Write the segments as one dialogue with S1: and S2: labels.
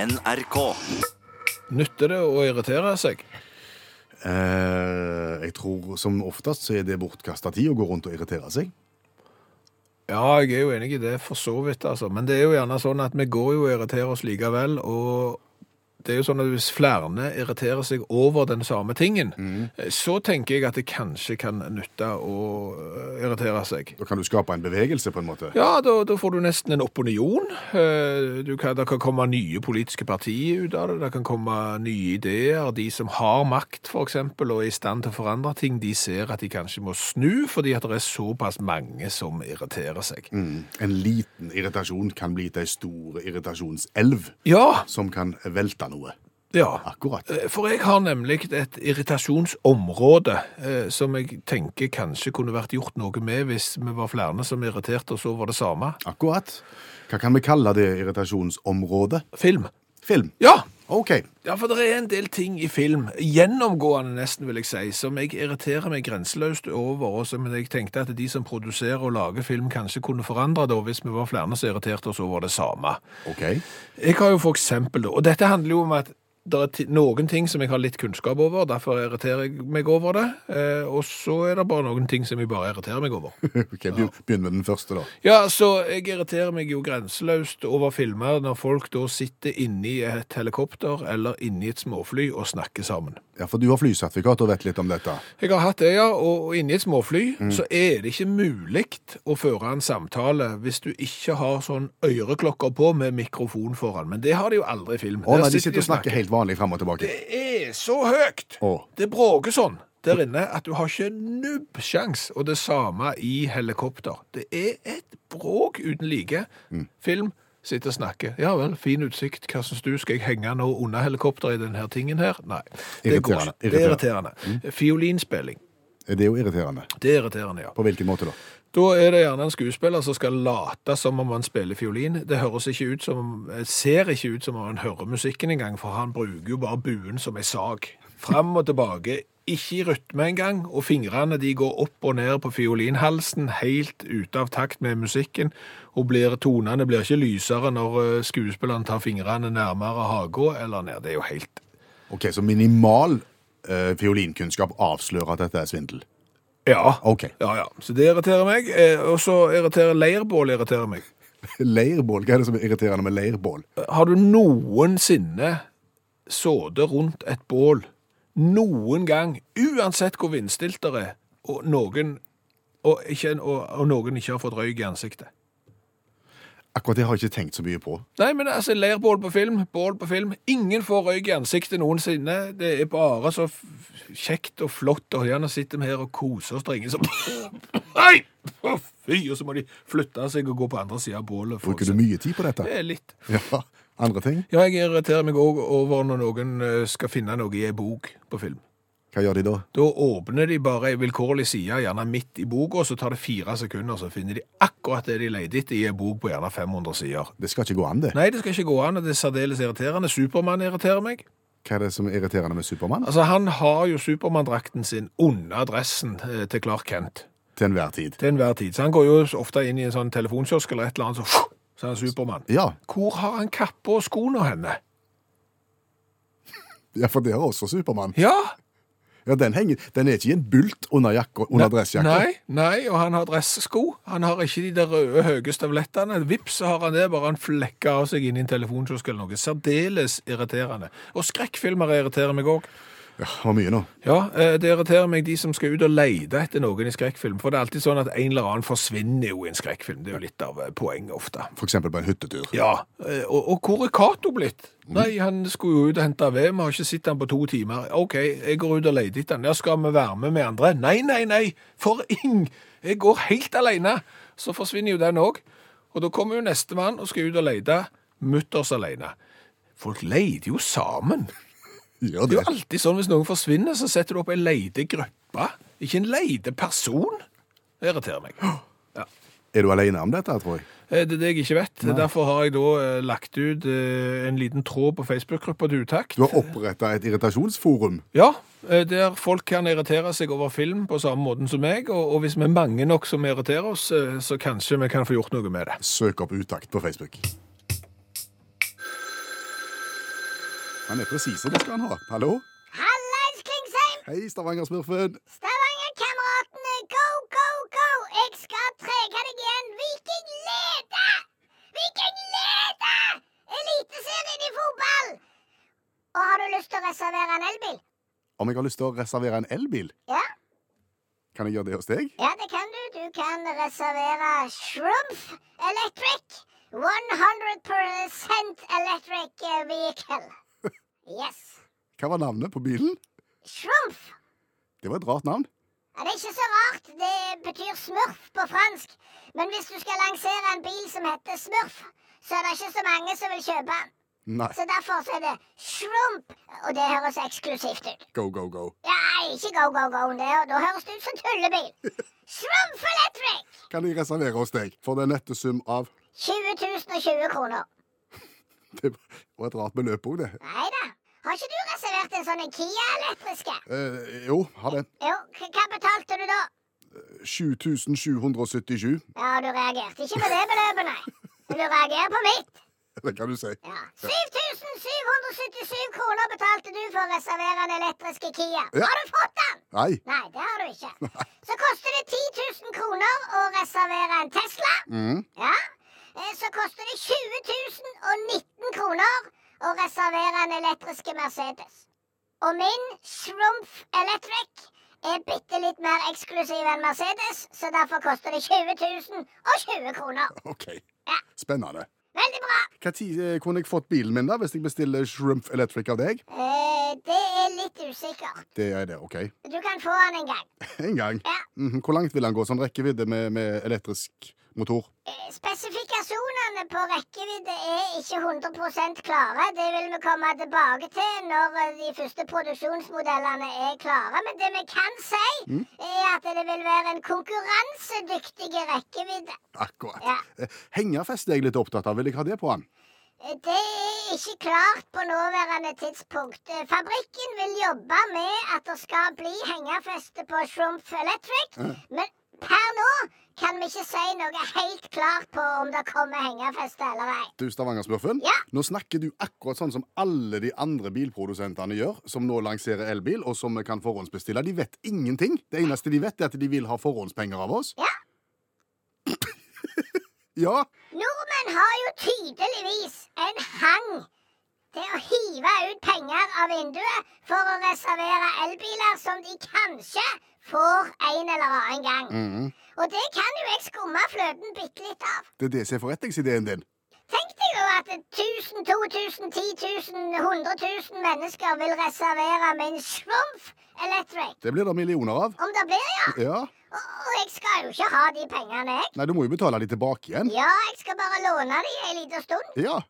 S1: NRK.
S2: Nytter det å irritere seg?
S3: Eh, jeg tror som oftest så er det bortkasta tid å gå rundt og irritere seg.
S2: Ja, jeg er jo enig i det, for så vidt, altså. Men det er jo gjerne sånn at vi går jo og irriterer oss likevel, og det er jo sånn at hvis flere irriterer seg over den samme tingen, eh, så tenker jeg at det kanskje kan nytte å øh, irritere seg.
S3: Da kan du skape en bevegelse, på en måte.
S2: Ja, da, da får du nesten en opinion. Eh, Du kan, det kan komme nye politiske partier ut av det, det kan komme nye ideer. De som har makt, for eksempel, og er i stand til å forandre ting, de ser at de kanskje må snu, fordi at det er såpass mange som irriterer seg.
S3: Mm. En liten irritasjon kan bli til ei stor irritasjonselv
S2: Ja,
S3: som kan velte noe.
S2: ja.
S3: Akkurat.
S2: Eh, For jeg har nemlig et irritasjonsområde eh, som jeg tenker kanskje kunne vært gjort noe med hvis vi var flere som irriterte oss over det samme.
S3: Akkurat. Hva kan vi kalle det irritasjonsområdet?
S2: Film.
S3: Film.
S2: Ja,
S3: OK.
S2: Ja, for det er en del ting i film, gjennomgående nesten, vil jeg si, som jeg irriterer meg grenseløst over, og som jeg tenkte at de som produserer og lager film kanskje kunne forandre det, og hvis vi var flere som irriterte oss over det samme.
S3: ok.
S2: Jeg har jo for eksempel, og dette handler jo om at det er ti- noen ting som jeg har litt kunnskap over, derfor irriterer jeg meg over det, eh, og så er det bare noen ting som jeg bare irriterer meg over.
S3: Ok, begyn- Begynn med den første, da.
S2: Ja, så jeg irriterer meg jo grenseløst over filmer når folk da sitter inni et helikopter eller inni et småfly og snakker sammen.
S3: Ja, For du har flysertifikat og vet litt om dette.
S2: Jeg har hatt det, ja, og og inni et småfly
S3: Mm.
S2: så er det ikke mulig å føre en samtale hvis du ikke har sånn øreklokker på med mikrofon foran, men det har de jo aldri i film.
S3: Å
S2: Der
S3: nei, de sitter og
S2: snakker.
S3: snakker helt vanlig fram og tilbake.
S2: Det er så høyt!
S3: Å.
S2: Det bråker sånn der inne at du har ikke nubbsjans, og det samme i helikopter. Det er et bråk uten like.
S3: Mm.
S2: Film, sitter og snakker. Ja vel, fin utsikt, hva synes du? Skal jeg henge nå under helikopteret i denne tingen her? Nei, det går
S3: Irriterende, Mm.
S2: ikke. Det er irriterende. Fiolinspilling.
S3: Det er jo irriterende.
S2: Det er irriterende, ja.
S3: På hvilken måte da?
S2: Da er det gjerne en skuespiller som skal late som om han spiller fiolin. Det høres ikke ut som, eh, ser ikke ut som om han hører musikken engang, for han bruker jo bare buen som ei sag. Fram og tilbake, ikke i rytme engang, og fingrene de går opp og ned på fiolinhalsen, helt ute av takt med musikken, og blir, tonene blir ikke lysere når eh, skuespilleren tar fingrene nærmere haga eller ned. Det er jo helt
S3: Ok, Så minimal eh, fiolinkunnskap avslører at dette er svindel.
S2: Ja.
S3: Ok.
S2: ja, ja. Så det irriterer meg. Eh, Og så irriterer leirbål irriterer meg.
S3: Leirbål, hva er det som er irriterende med leirbål?
S2: Har du noensinne sådet rundt et bål? Noen gang, uansett hvor vindstilt det er, og noen, og ikke, og, og noen ikke har fått røyk i ansiktet?
S3: Akkurat det har jeg ikke tenkt så mye på.
S2: Nei, men altså, leirbål på film, bål på film. Ingen får røyk i ansiktet noensinne. Det er bare så f- kjekt og flott, og gjerne sitter vi her og koser oss, det er ingen som Nei! Å, Fy! Og så må de flytte seg og gå på andre sida av bålet. for å
S3: Bruker du
S2: se.
S3: mye tid på dette?
S2: Det er litt.
S3: Ja, Andre ting?
S2: Ja, jeg irriterer meg òg over når noen eh, skal finne noe i ei bok på film.
S3: Hva gjør de da?
S2: Da åpner de bare ei vilkårlig side, gjerne midt i boka, så tar det fire sekunder, så finner de akkurat det de leter etter i ei bok på gjerne 500 sider.
S3: Det skal ikke gå an, det.
S2: Nei, det skal ikke gå an, og det er særdeles irriterende. Supermann irriterer meg.
S3: Hva er det som er irriterende med Supermann?
S2: Altså, han har jo Supermann-drakten sin under dressen eh, til Clark Kent
S3: Til enhver tid.
S2: til enhver tid. Så han går jo ofte inn i en sånn telefonkiosk eller et eller annet, så, så er han Supermann.
S3: Ja,
S2: Hvor har han kappa og skoene henne?
S3: ja for det har også Supermann.
S2: Ja!
S3: Ja, den, henger, den er ikke i en bult under, jakka, under dressjakka.
S2: Nei, nei, og han har dressesko. Han har ikke de der røde, høye støvlettene. Vips, så har han det. Bare han flekker av seg inn i en telefonkiosk eller noe. Særdeles irriterende. Og skrekkfilmer irriterer meg òg.
S3: Ja, det var mye nå.
S2: Ja, eh, det irriterer meg de som skal ut og lete etter noen i skrekkfilm. For det er alltid sånn at en eller annen forsvinner jo i en skrekkfilm. Det er jo litt av eh, poenget ofte.
S3: For eksempel på en hyttetur.
S2: Ja, eh, og, og hvor er Cato blitt? Nei, han skulle jo ut og hente ved, vi har ikke sett han på to timer. Ok, jeg går ut og leter etter han. Ja, skal vi være med med andre? Nei, nei, nei, for ing! Jeg går helt alene. Så forsvinner jo den òg. Og da kommer jo nestemann og skal ut og lete, mutters alene. Folk leter jo sammen.
S3: Gjør
S2: Det er
S3: det.
S2: jo alltid sånn hvis noen forsvinner, så setter du opp en leitegruppe. Ikke en leiteperson. Det irriterer meg. Ja.
S3: Er du alene om dette, tror jeg?
S2: Eh, Det er det jeg ikke vet. Derfor har jeg da eh, lagt ut eh, en liten tråd på Facebook-gruppa til utakt.
S3: Du har oppretta et irritasjonsforum.
S2: Ja, eh, der folk kan irritere seg over film på samme måten som meg, og, og hvis vi er mange nok som irriterer oss, eh, så kanskje vi kan få gjort noe med det.
S3: Søk opp utakt på Facebook. Han er presise, det skal han ha. Hallo?
S1: Hallais, Klingsheim!
S3: Hei, Stavanger-smurfen.
S1: Stavangerkameratene, go, go, go! Jeg skal trege deg igjen. Viking leder! Viking leder! Eliteserien i fotball! Og har du lyst til å reservere en elbil?
S3: Om jeg har lyst til å reservere en elbil,
S1: Ja,
S3: kan jeg gjøre det hos deg?
S1: ja det kan du. Du kan reservere Shrumpf Electric. 100 electric eh, vehicle. Yes.
S3: Hva var navnet på bilen?
S1: Shrumpf.
S3: Det var et rart navn.
S1: Ja, det er ikke så rart. Det betyr smurf på fransk. Men hvis du skal lansere en bil som heter smurf, så er det ikke så mange som vil kjøpe den.
S3: Nei.
S1: Så derfor så er det shrump, og det høres eksklusivt ut.
S3: Go, go, go.
S1: Ja, ikke go, go, go. Det, da høres det ut som tullebil. Shrump Electric!
S3: Kan jeg reservere hos deg for den nette sum av
S1: 20 020 kroner.
S3: Det var et rart beløp òg, det.
S1: Nei da. Har ikke du reservert en sånn en Kia elektriske?
S3: Eh, jo, ha det.
S1: Jo, k- hva betalte du da?
S3: 7777.
S1: Ja, du reagerte ikke på det beløpet, nei. Men du reagerer på mitt.
S3: Det kan du si.
S1: Ja. 7777 kroner betalte du for å reservere den elektriske Kia.
S3: Ja.
S1: Har du fått den?
S3: Nei.
S1: Nei, det har du ikke. Så koster det 10 000 kroner å reservere en Tesla.
S3: Mm,
S1: Ja. Eh, Så koster det 20 019 kroner å reservere en elektriske Mercedes. Og min Schrumpf Electric er bitte litt mer eksklusiv enn Mercedes, så derfor koster det 20 020 kroner.
S3: OK.
S1: Ja.
S3: Spennende.
S1: Veldig bra.
S3: Når kunne jeg fått bilen min da, hvis jeg bestiller Shrimp Electric av deg?
S1: Eh, det er litt usikkert.
S3: Det er det, OK.
S1: Du kan få den en gang.
S3: En gang.
S1: Ja.
S3: Mhm. Hvor langt vil han gå som rekkevidde med, med elektrisk motor?
S1: Eh, Spesifikasjonene på rekkevidde er ikke 100 klare. Det vil vi komme tilbake til når eh, de første produksjonsmodellene er klare. Men det vi kan si, er at det vil være en konkurransedyktig rekkevidde.
S3: Akkurat.
S1: Ja.
S3: Eh, Hengerfest er jeg litt opptatt av. Vil jeg ha det på han?
S1: Eh, Det er ikke klart på nåværende tidspunkt. Eh, Fabrikken vil jobbe med at det skal bli hengefeste på Shrumpf Electric, men per nå kan vi ikke si noe helt klart på om det kommer hengefeste eller ei.
S3: Du, Stavanger-smurfen.
S1: Ja.
S3: Nå snakker du akkurat sånn som alle de andre bilprodusentene gjør, som nå lanserer elbil, og som vi kan forhåndsbestille. De vet ingenting. Det eneste de vet, er at de vil ha forhåndspenger av oss.
S1: Ja.
S3: Ja,
S1: Nordmenn har jo tydeligvis en hang til å hive ut penger av vinduet for å reservere elbiler som de kanskje får en eller annen gang.
S3: Mm.
S1: Og det kan jo jeg skumme fløten bitte litt av.
S3: Mhm. det er det som er forretningsideen din.
S1: Tenk deg jo at 1000, 2000, 10 000, 100 000 mennesker vil reservere min Schwumpf Electric.
S3: Det blir det millioner av.
S1: Om det blir, ja.
S3: Ja.
S1: Og, og jeg skal jo ikke ha de pengene, jeg.
S3: Nei, du må jo betale de tilbake igjen.
S1: Ja, jeg skal bare låne de en liten stund.
S3: Ja.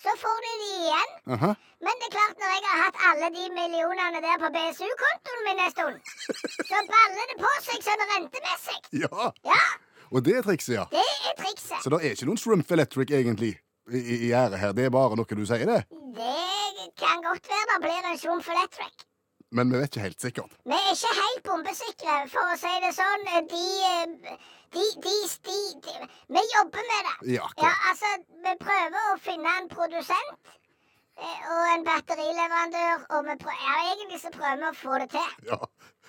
S1: Så får du de igjen.
S3: Aha.
S1: Men det er klart, når jeg har hatt alle de millionene der på BSU-kontoen min en stund, så baller det på seg sånn rentemessig.
S3: Ja.
S1: Ja,
S3: Og det er trikset, ja.
S1: det er trikset.
S3: Så det er ikke noen Shrimp Electric egentlig i, i, i ære her. Det er bare noe du sier, det.
S1: Det kan godt være det blir en Schwumpf Electric.
S3: Men vi vet ikke helt sikkert.
S1: Vi er ikke helt bombesikre, for å si det sånn. De eh, De, de, de, de Vi jobber med det.
S3: Ja, akkurat.
S1: Ja, altså, vi prøver å finne en produsent eh, og en batterileverandør, og vi prøver, ja, egentlig så prøver vi å få det til.
S3: Ja.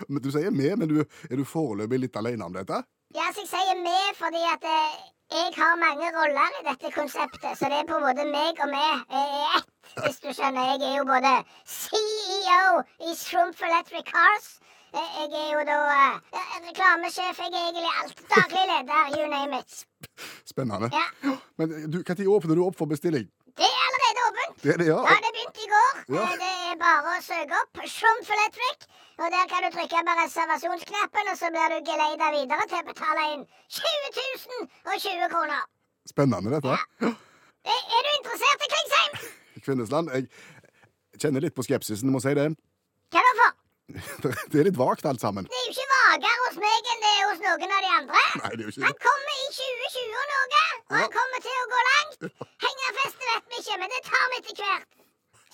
S3: Men du sier med, men du, er du foreløpig litt alene om dette?
S1: Ja, så jeg sier med fordi at eh, jeg har mange roller i dette konseptet, så det er på en måte meg og meg eh, i ett, hvis du skjønner. Jeg er jo både CEO i Shroomf Electric Cars. eh, Jeg er jo da eh, ja, reklamesjef, jeg er egentlig alt. Daglig leder, you name it.
S3: Spennende.
S1: Ja.
S3: Men eh, du, når åpner du opp for bestilling?
S1: Det er allerede åpent.
S3: Det er det, ja.
S1: Ja, det begynte i går.
S3: Ja.
S1: Eh, Det er bare å søke opp Shroomf Electric. Og der kan du trykke på reservasjonsknappen, og så blir du geleida videre til å betale inn 20 000 og 20 kroner.
S3: Spennende, dette.
S1: Er, er du interessert i Klingsheim?
S3: Kvinnesland, jeg kjenner litt på skepsisen, må si det.
S1: Hva da for?
S3: Det er litt vagt, alt sammen.
S1: Det er jo ikke vagere hos meg enn det er hos noen av de andre.
S3: Nei, det er jo ikke
S1: Han kommer i 2020 og noe, og han kommer til å gå langt. Hengerfeste vet vi ikke, men det tar vi etter hvert.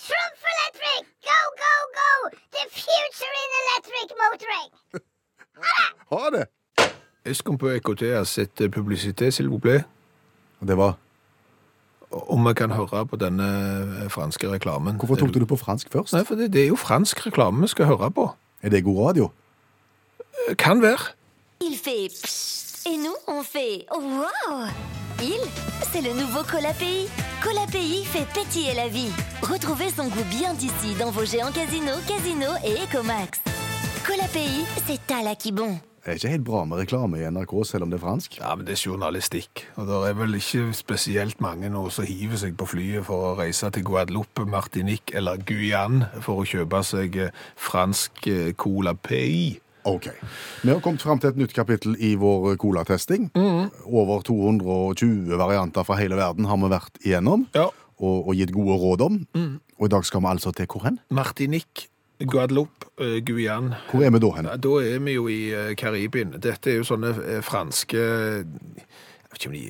S1: Trump Electric, go, go, go! The future in electric motoring.
S3: Ha det!
S2: E eh, Est-ce qu'on peut écouter à cette publicité, s'il vous plaît
S3: Og det var
S2: om vi kan høre på denne eh, franske reklamen.
S4: Hvorfor tok du det på fransk først?
S2: Nei, for det, det er jo fransk reklame vi skal høre på. Eh,
S4: Er det god radio?
S2: Kan være.
S5: Il fait psst et nous on fait waouh. Il, c'est le nouveau Colapéi. Colapéi fait pétiller la vie. Retrouvez son goût bien d'ici dans vos géants Casino, Casino et Ecomax. Colapéi, c'est à la qui bon.
S4: Det er ikke helt bra med reklame i NRK, selv om det er fransk.
S2: Ja, men det er journalistikk. Og det er vel ikke spesielt mange nå som hiver seg på flyet for å reise til Guadeloupe, Martinique eller Guyane for å kjøpe seg eh, fransk eh, Cola Pay.
S4: Ok.
S3: Vi har kommet fram til et nytt kapittel i vår colatesting. Over 220 varianter fra hele verden har vi vært igjennom
S2: Ja.
S3: og, og gitt gode råd om. Og i dag skal vi altså til hvor hen?
S2: Martinique, Guadeloupe, eh, Guyane.
S3: Hvor er vi da hen?
S2: Ja, da er vi jo i eh, Karibien. Dette er jo sånne eh, franske Jeg vet ikke om de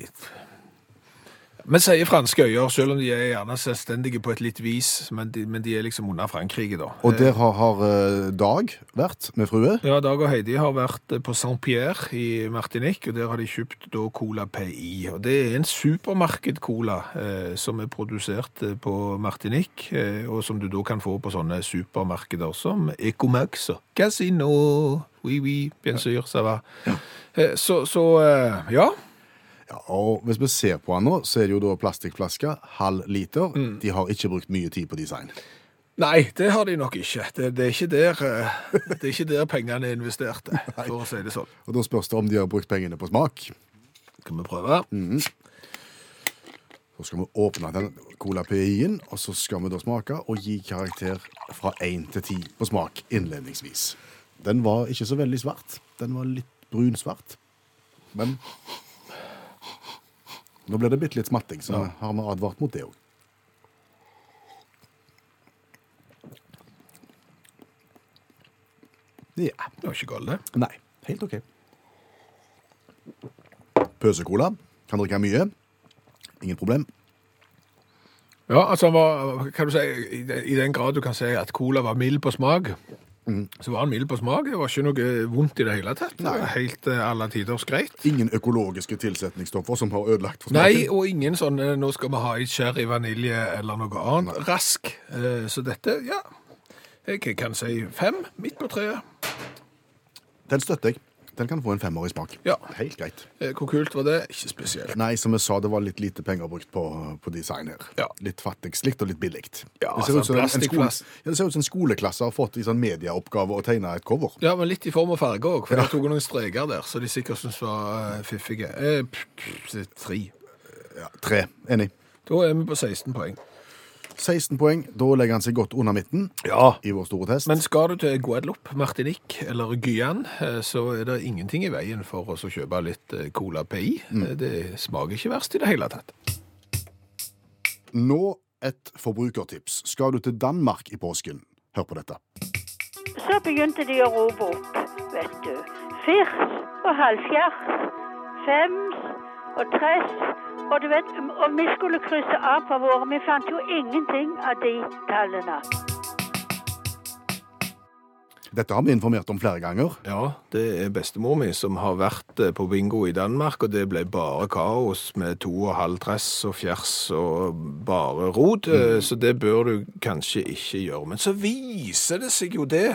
S2: Vi sier franske øyer, selv om de er gjerne selvstendige på et litt vis. Men de, men de er liksom under Frankrike, da.
S3: Og der har, har eh, Dag vært med frue.
S2: Ja, Dag og Heidi har vært eh, på Saint-Pierre i Martinique, og der har de kjøpt da Cola PI. Og det er en supermarked-cola eh, som er produsert eh, på Martinique, eh, og som du da kan få på sånne supermarkeder som Ecomax og Casino, Oui Oui, Bien sûr, ça va. Eh, så, så eh, ja.
S3: Ja, og hvis vi ser på han nå, så er det jo da plastikkflasker, halv liter. De har ikke brukt mye tid på design.
S2: Nei, det har de nok ikke. Det, det, er, ikke der, eh, det er ikke der pengene er investert, for å si det sånn.
S3: Og da spørs det om de har brukt pengene på smak.
S2: Skal vi prøve?
S3: Så skal vi åpne den Cola PI-en, og så skal vi da smake og gi karakter fra 1 til 10 på smak innledningsvis. Den var ikke så veldig svart. Den var litt brunsvart. Men nå ble det bitte litt smatting, så har vi advart mot det òg. Ja.
S2: Det var ikke galt, det.
S3: Nei.
S4: Helt ok.
S3: Pøsecola. Kan drikke mye. Ingen problem.
S2: Ja, altså han var, kan du si, i de- i den grad du kan si at cola var mild på smak, så var han mild på smak. Det var ikke noe eh, vondt i det hele tatt. Det var helt eh, alle tiders greit.
S3: Ingen økologiske tilsetningsstoffer som har ødelagt for smaken.
S2: Nei, og ingen sånn eh, 'nå skal vi ha i sherry, vanilje eller noe annet'. Rask. Eh, Så dette, ja Jeg kan si fem, midt på treet.
S3: Den støtter jeg. Den kan få en femmer i smak.
S2: Ja.
S3: Helt greit.
S2: Eh, Hvor kult var det? Ikke spesielt.
S3: Nei, som jeg sa, det var litt lite penger brukt på, på design her.
S2: Ja.
S3: Litt fattig slikt og litt billig.
S2: Ja,
S3: det, ser ut
S2: altså,
S3: som en- en skole,
S2: plastikkplass.
S3: ja, det ser ut som en skoleklasse har fått i sånn medieoppgave å tegne et cover.
S2: Ja, men litt i form og farge òg, for jeg tok noen streker der så de sikkert syntes var eh, fiffige. Eh, pff, pff, Tre.
S3: Ja, tre. Enig.
S2: Da er vi på 16 poeng.
S3: 16 poeng. Da legger han seg godt under midten
S2: Ja.
S3: i vår store test.
S2: Men skal du til Guadeloupe, Martinique eller Guyane, eh, så er det ingenting i veien for oss å kjøpe litt eh, Cola PI. Eh, Det smaker ikke verst i det hele tatt.
S3: Nå et forbrukertips. Skal du til Danmark i påsken? Hør på dette.
S6: Så begynte de å rope opp, vet du. Firs og halvfjerds, fems og tress. Og du vet, om vi skulle krysse av på våre, vi fant jo ingenting av de tallene.
S3: Dette har vi informert om flere ganger.
S2: Ja, det er bestemor mi som har vært eh, på bingo i Danmark, og det ble bare kaos med to og halv dress og fjers og bare rot, eh, så det bør du kanskje ikke gjøre. Men så viser det seg jo det,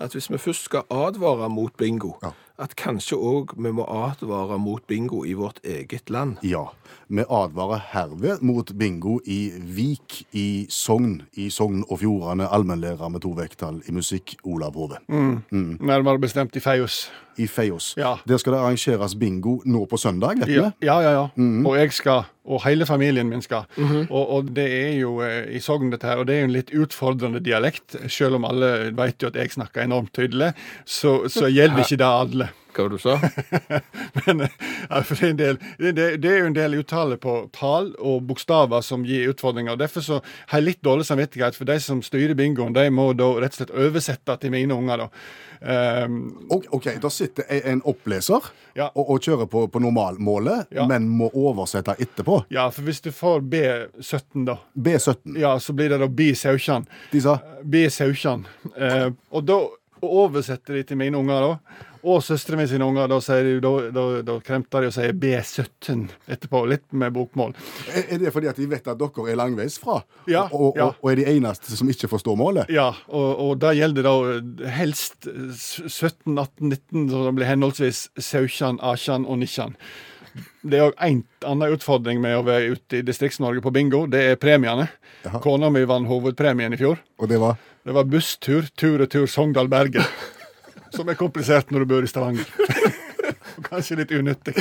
S2: at hvis vi først skal advare mot bingo,
S3: Ja.
S2: at kanskje òg vi må advare mot bingo i vårt eget land.
S3: Ja. Vi advarer herved mot bingo i Vik i Sogn. I Sogn og Fjordane, allmennlærer med to vekttall i musikk, Olav Hove.
S7: nærmere bestemt i Feios.
S3: I Feios.
S7: Mm. Ja.
S3: Der skal det arrangeres bingo nå på søndag, vet
S7: Ja,
S3: vi.
S7: ja, ja. ja. Og jeg skal, og hele familien min skal. og, og det er jo eh, i Sogn, dette her, og det er jo en litt utfordrende dialekt. Selv om alle vet jo at jeg snakker enormt tydelig, så, så gjelder ikke det alle.
S2: Hva var det du sa?
S7: Men eh, ja, for det, er en del, det, det det er jo en del uttale på tall og bokstaver som gir utfordringer. og Derfor så har jeg litt dårlig samvittighet, for de som styrer bingoen, de må da rett og slett oversette til mine unger. da. Ehm,
S3: Ok, ok, Da sitter en- en oppleser
S7: Ja.
S3: og, og kjører på, på normalmålet,
S7: Ja.
S3: men må oversette etterpå.
S7: ja, for hvis du får B17, da,
S3: B17.
S7: ja, så blir det da B17.
S3: De sa
S7: B17. Eh, og da oversetter de til mine unger, da. og søsteren min sine unger, da, sier de, da, da, da kremter de og sier B17 etterpå. Litt med bokmål.
S3: Er er det fordi at de vet at dere er langveisfra?
S7: Ja,
S3: og,
S7: ja.
S3: og, og er de eneste som ikke forstår målet?
S7: Ja, og, og da gjelder det da helst 17, 18, 19, så det blir henholdsvis 17, 18 og 19. Det er òg en annen utfordring med å være ute i Distrikts-Norge på bingo, det er premiene. Kona mi vant hovedpremien i fjor.
S3: Og det var
S7: Det var busstur tur-retur Sogndal-Bergen. Som er komplisert når du bor i Stavanger. Og Kanskje litt unyttig.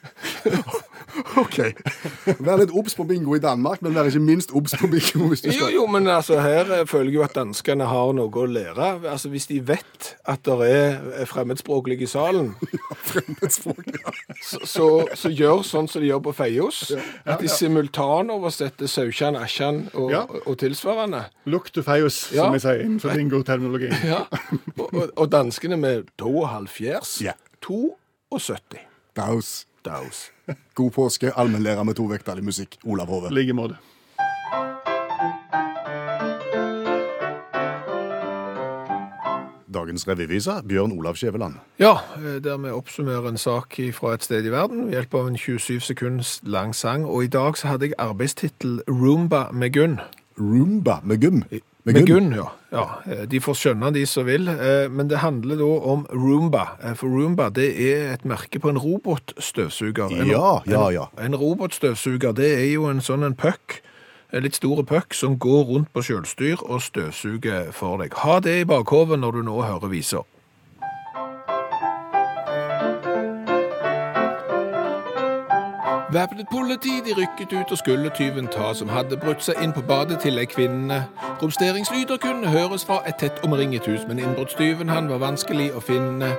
S3: OK. Vær litt obs på bingo i Danmark, men vær ikke minst obs på bingo hvis du
S2: Jo,
S3: skal
S2: jo, men altså, her eh, føler jeg jo at danskene har noe å lære. Altså, Hvis de vet at det er eh, fremmedspråklige i salen,
S3: Fremmedspråk, ja.
S2: så, så, så gjør sånn som de gjør på Feios. At de simultanoversetter Saukjan, Asjan og,
S7: Ja.
S2: og, og tilsvarende.
S7: Lukt du feios,
S2: Ja.
S7: som vi sier innenfor bingo-terminologi.
S2: Ja. Og, og, og danskene med to og halv fjers.
S3: Ja.
S2: To og 70.
S3: Daus.
S2: Daus.
S3: God påske, allmennlærer med to vekttall i musikk, Olav Hove.
S7: I like måte.
S3: Dagens revyvise, Bjørn Olav Skjæveland.
S2: Ja, eh, der vi oppsummerer en sak fra et sted i verden ved hjelp av en 27 sekunds lang sang. Og i dag så hadde jeg arbeidstittel 'Roomba med Gunn'.
S3: Roomba med gym.
S2: Med Gunn, ja. ja. eh, De får skjønne, de som vil. Eh, Men det handler da om Roomba. Eh, For Roomba det er et merke på en robotstøvsuger. En-
S3: Ja, ja, ja.
S2: En, en robotstøvsuger det er jo en sånn en puck, en litt store puck, som går rundt på sjølstyr og støvsuger for deg. Ha det i bakhovet når du nå hører viser. Væpnet politi de rykket ut og skulle tyven ta, som hadde brutt seg inn på badet til ei kvinne. Romsteringslyder kunne høres fra et tett omringet hus, men innbruddstyven han var vanskelig å finne.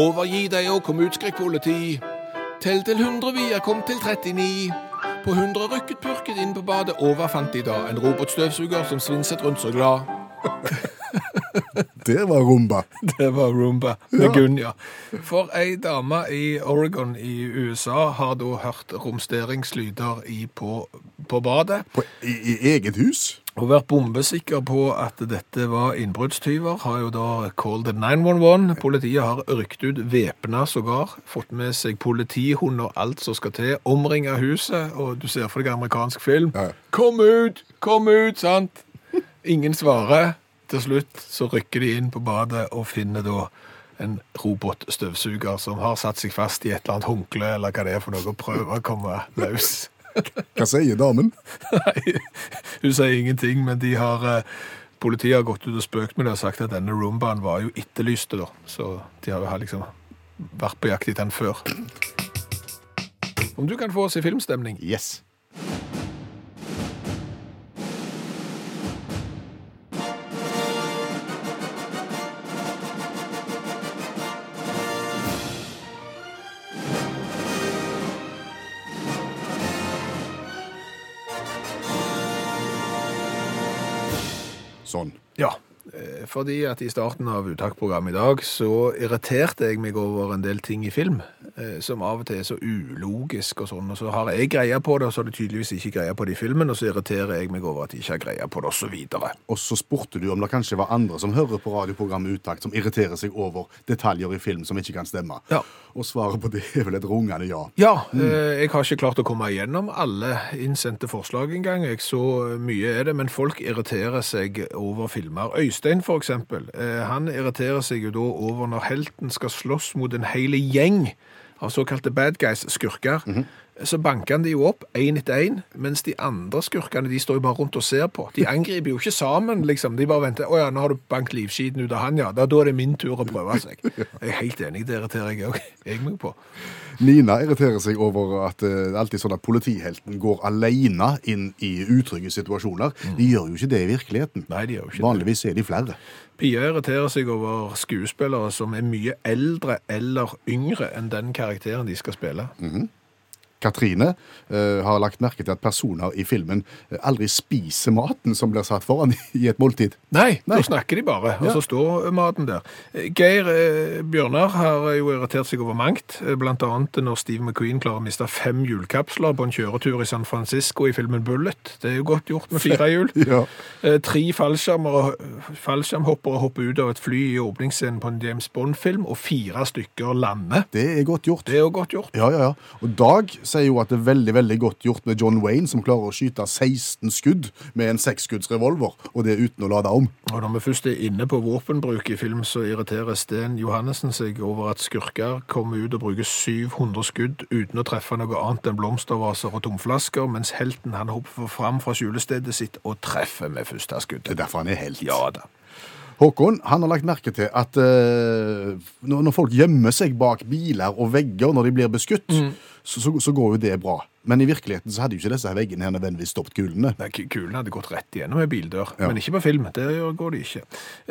S2: Overgi deg og kom ut, skrek politi. Tell til hundre, vi er kommet til 39. På hundre rykket purken inn på badet, over fant de da en robotstøvsuger som svinset rundt så glad.
S3: Det var rumba.
S2: Det var Roomba med Gunn, ja. For ei dame i Oregon i USA har da hørt romsteringslyder i på, på badet,
S3: På, i, I eget hus?
S2: og vært bombesikker på at dette var innbruddstyver. Har jo da called 911. Politiet har rykt ut væpna sågar. Fått med seg politihund og alt som skal til. Omringa huset, og du ser for deg amerikansk film.
S3: Ja, ja.
S2: Kom ut! Kom ut! Sant? Ingen svarer. Til slutt så rykker de inn på badet og finner da en robotstøvsuger som har satt seg fast i et eller annet håndkle eller hva det er for noe, og prøver å komme løs.
S3: Hva sier damen?
S2: Nei, hun sier ingenting, men de har eh, Politiet har gått ut og spøkt med det og sagt at denne roombaen var jo etterlyste, da. Så de har, har liksom vært på jakt etter den før. Om du kan få oss i filmstemning?
S3: Yes. Sånn.
S2: Ja. eh, Fordi at i starten av uttaksprogrammet i dag så irriterte jeg meg over en del ting i film, eh, som av og til er så ulogisk og sånn, og så har jeg greia på det, og så har de tydeligvis ikke greia på det i filmen, og så irriterer jeg meg over at de ikke har greia på det, og så videre.
S3: Og så spurte du om det kanskje var andre som hører på radioprogrammet Utakt, som irriterer seg over detaljer i film som ikke kan stemme.
S2: Ja.
S3: Og svaret på det er vel et rungende ja.
S2: Ja, eh, jeg har ikke klart å komme igjennom alle innsendte forslag engang. Jeg så eh, mye er det, men folk irriterer seg over filmer. Øystein, for eksempel, eh, han irriterer seg jo da over når helten skal slåss mot en hel gjeng av såkalte bad guys-skurker. Så banker han de jo opp, én etter én, mens de andre skurkene de står jo bare rundt og ser på. De angriper jo ikke sammen, liksom. De bare venter. 'Å ja, nå har du bankt livskiten ut av han, ja.' Da, da er det min tur å prøve seg. Jeg er helt enig, det irriterer jeg òg jeg meg på.
S3: Nina irriterer seg over at eh, det er alltid sånn at politihelten går alene inn i utrygge situasjoner. De gjør jo ikke det i virkeligheten.
S2: Mm. Nei, de gjør jo ikke det.
S3: Vanligvis er de flere.
S2: Pia irriterer seg over skuespillere som er mye eldre eller yngre enn den karakteren de skal spille.
S3: Katrine eh, har lagt merke til at personer i filmen eh, aldri spiser maten som blir satt foran i et måltid.
S2: Nei, nå snakker de bare, og så står maten der. Geir eh, Bjørnar har jo irritert seg over mangt, eh, blant annet når Steve McQueen klarer å miste fem hjulkapsler på en kjøretur i San Francisco i filmen Bullet. Det er jo godt gjort med fire hjul.
S3: Ja.
S2: Eh, Tre fallskjermer- fallskjermhoppere hopper ut av et fly i åpningsscenen på en James Bond-film, og fire stykker lander.
S3: Det er godt gjort.
S2: Det er jo godt gjort.
S3: Ja, ja, ja. Og Dag sier jo at det er veldig veldig godt gjort med John Wayne, som klarer å skyte 16 skudd med en sekskuddsrevolver, og det uten å lade om.
S2: Og når vi først er inne på våpenbruk i film, så irriterer Sten Johannessen seg over at skurker kommer ut og bruker 700 skudd uten å treffe noe annet enn blomstervaser og tomflasker, mens helten han hopper fram fra skjulestedet sitt og treffer med første
S3: Det
S2: skuddet.
S3: er derfor han er helt.
S2: Ja da.
S3: Håkon han har lagt merke til at eh, når, når folk gjemmer seg bak biler og vegger når de blir beskutt, så, så, så går jo det bra. Men i virkeligheten så hadde jo ikke disse her veggene her nødvendigvis stoppet kulene.
S2: Nei, ku- Kulen hadde gått rett igjennom en bildør, men ikke på film. Der går det ikke.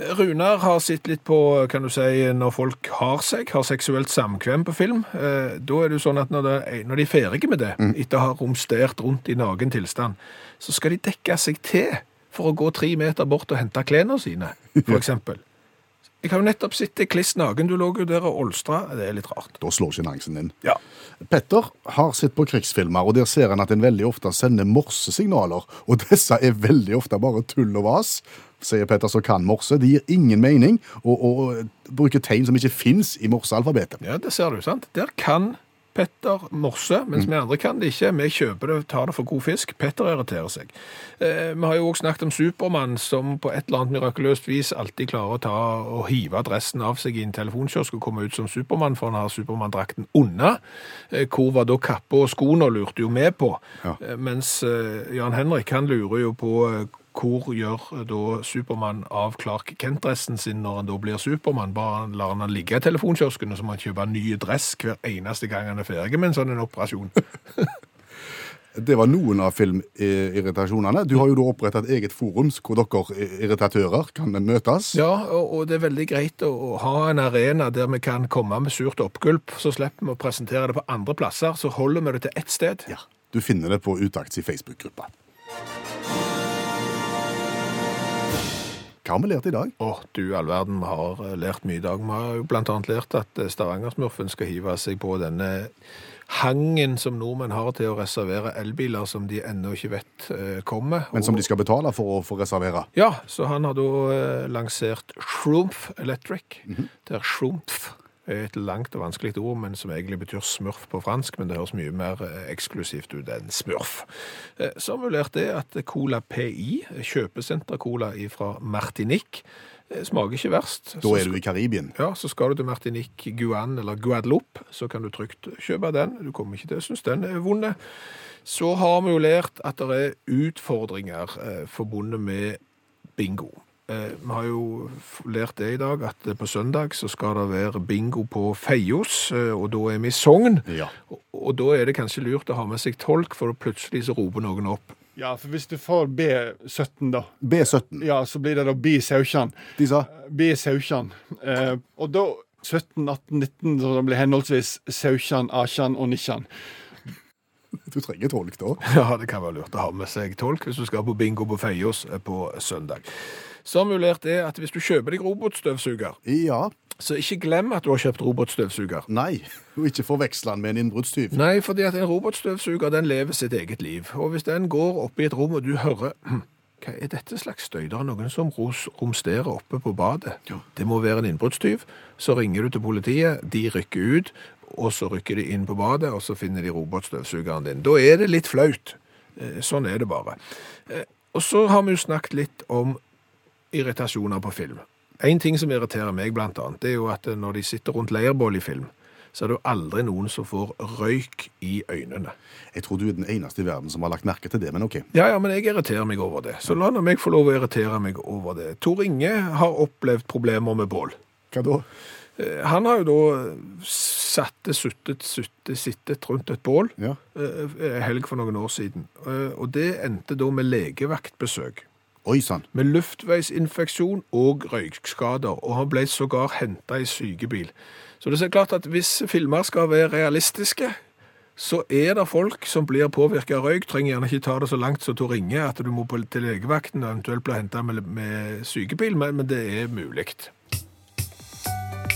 S2: Eh, Runar har sett litt på kan du si, når folk har seg, har seksuelt samkvem på film. Eh, Da er det jo sånn at når de, når de er ferdige med det, etter å ha romstert rundt i naken tilstand, så skal de dekke seg til for å gå tre meter bort og hente klærne sine, for eksempel. Jeg har jo nettopp sett deg kliss naken, du lå jo der og olstra. Det er litt rart.
S3: Da slår sjenansen inn.
S2: Ja.
S3: Petter har sett på krigsfilmer, og der ser han at en veldig ofte sender morsesignaler, og disse er veldig ofte bare tull og vas, sier Petter som kan morse. Det gir ingen mening å å bruke tegn som ikke fins i morsealfabetet.
S2: Ja, det ser du, sant? Der kan Petter morse, mens vi andre kan det ikke. Vi kjøper det, tar det for god fisk. Petter irriterer seg. Eh, vi har jo også snakket om Supermann, som på et eller annet mirakuløst vis alltid klarer å ta og hive adressen av seg i en telefonkiosk og komme ut som Supermann, for han har Supermann-drakten unna. Eh, hvor var da kappa og skoene, lurte jo vi på.
S3: Ja.
S2: Eh, mens eh, Jan Henrik, han lurer jo på eh, hvor gjør eh, da Supermann av Clark Kent-dressen sin når han da blir Supermann? Bare han- lar han han ligge i telefonkiosken, og så må han kjøpe en ny dress hver eneste gang han er ferdig med en sånn en operasjon?
S3: Det var noen av filmirritasjonene. Du har jo da oppretta et eget forum hvor dere irritatører kan møtes.
S2: Ja, og, og det er veldig greit å, å ha en arena der vi kan komme med surt oppgulp, så slipper vi å presentere det på andre plasser, så holder vi det til ett sted.
S3: Ja, Du finner det på Utakts i Facebook-gruppa. Hva har vi lært i dag?
S2: Å, du all verden, vi har eh, lært mye i dag. Vi har jo blant annet lært at eh, Stavangersmurfen skal hive seg på denne hangen som nordmenn har til å reservere elbiler som de ennå ikke vet eh, kommer.
S3: Men som
S2: Og-
S3: de skal betale for å få reservere.
S2: Ja, så han har da eh, lansert Shroomf Electric,
S3: Mhm.
S2: der Shroomf er et langt og vanskelig ord, men som egentlig betyr smurf på fransk, men det høres mye mer eh, eksklusivt ut enn smurf. Eh, Så har vi lært det at Cola PI, kjøpesenter-cola fra Martinique, eh, smaker ikke verst.
S3: Da er du i Karibien.
S2: Ja, så skal du til Martinique, Guan eller Guadeloupe, så kan du trygt kjøpe den. Du kommer ikke til å synes den er vond. Så har vi jo lært at det er utfordringer eh, forbundet med bingo. Eh, vi har jo f- lært det i dag, at eh, på søndag så skal det være bingo på Feios, eh, og da er vi i Sogn.
S3: Ja.
S2: Og, og da er det kanskje lurt å ha med seg tolk, for plutselig så roper noen opp.
S7: Ja, for hvis du får B17, da,
S3: B17.
S7: ja, så blir det da B17.
S3: De sa
S7: B17. Eh, og da 17, 18, 19, så det blir henholdsvis 17, 18 og 19.
S3: du trenger tolk da.
S2: Ja, det kan være lurt å ha med seg tolk hvis du skal på bingo på Feios eh, på søndag. Så har vi jo lært det at hvis du kjøper deg robotstøvsuger,
S3: Ja.
S2: Så ikke glem at du har kjøpt robotstøvsuger.
S3: Nei. Og ikke forveksle den med en innbruddstyv.
S2: Nei, fordi at en robotstøvsuger den lever sitt eget liv. Og hvis den går opp i et rom og du hører «Hm, Hva er dette slags støy? Det er noen som ros- romsterer oppe på badet. Det må være en innbruddstyv. Så ringer du til politiet, de rykker ut, og så rykker de inn på badet, og så finner de robotstøvsugeren din. Da er det litt flaut. Eh, Sånn er det bare. Eh, Og så har vi jo snakket litt om irritasjoner på film. En ting som irriterer meg blant annet, det er jo at eh, når de sitter rundt leirbål i film, så er det jo aldri noen som får røyk i øynene.
S3: Jeg tror du er den eneste i verden som har lagt merke til det, men OK.
S2: Ja, ja, men jeg irriterer meg over det. Så la nå meg få lov å irritere meg over det. Tor Inge har opplevd problemer med bål.
S3: Hva da?
S2: Eh, Han har jo da satte, suttet, suttet, sittet rundt et bål
S3: Ja.
S2: eh, en helg for noen år siden. Eh, Og det endte da med legevaktbesøk.
S3: Oi sann.
S2: med luftveisinfeksjon og røykskader, og han ble sågar henta i sykebil. Så det er klart at hvis filmer skal være realistiske, så er det folk som blir påvirka av røyk. Trenger gjerne ikke ta det så langt som til å ringe at du må på, til legevakten og eventuelt bli henta med, med sykebil, men, men det er mulig.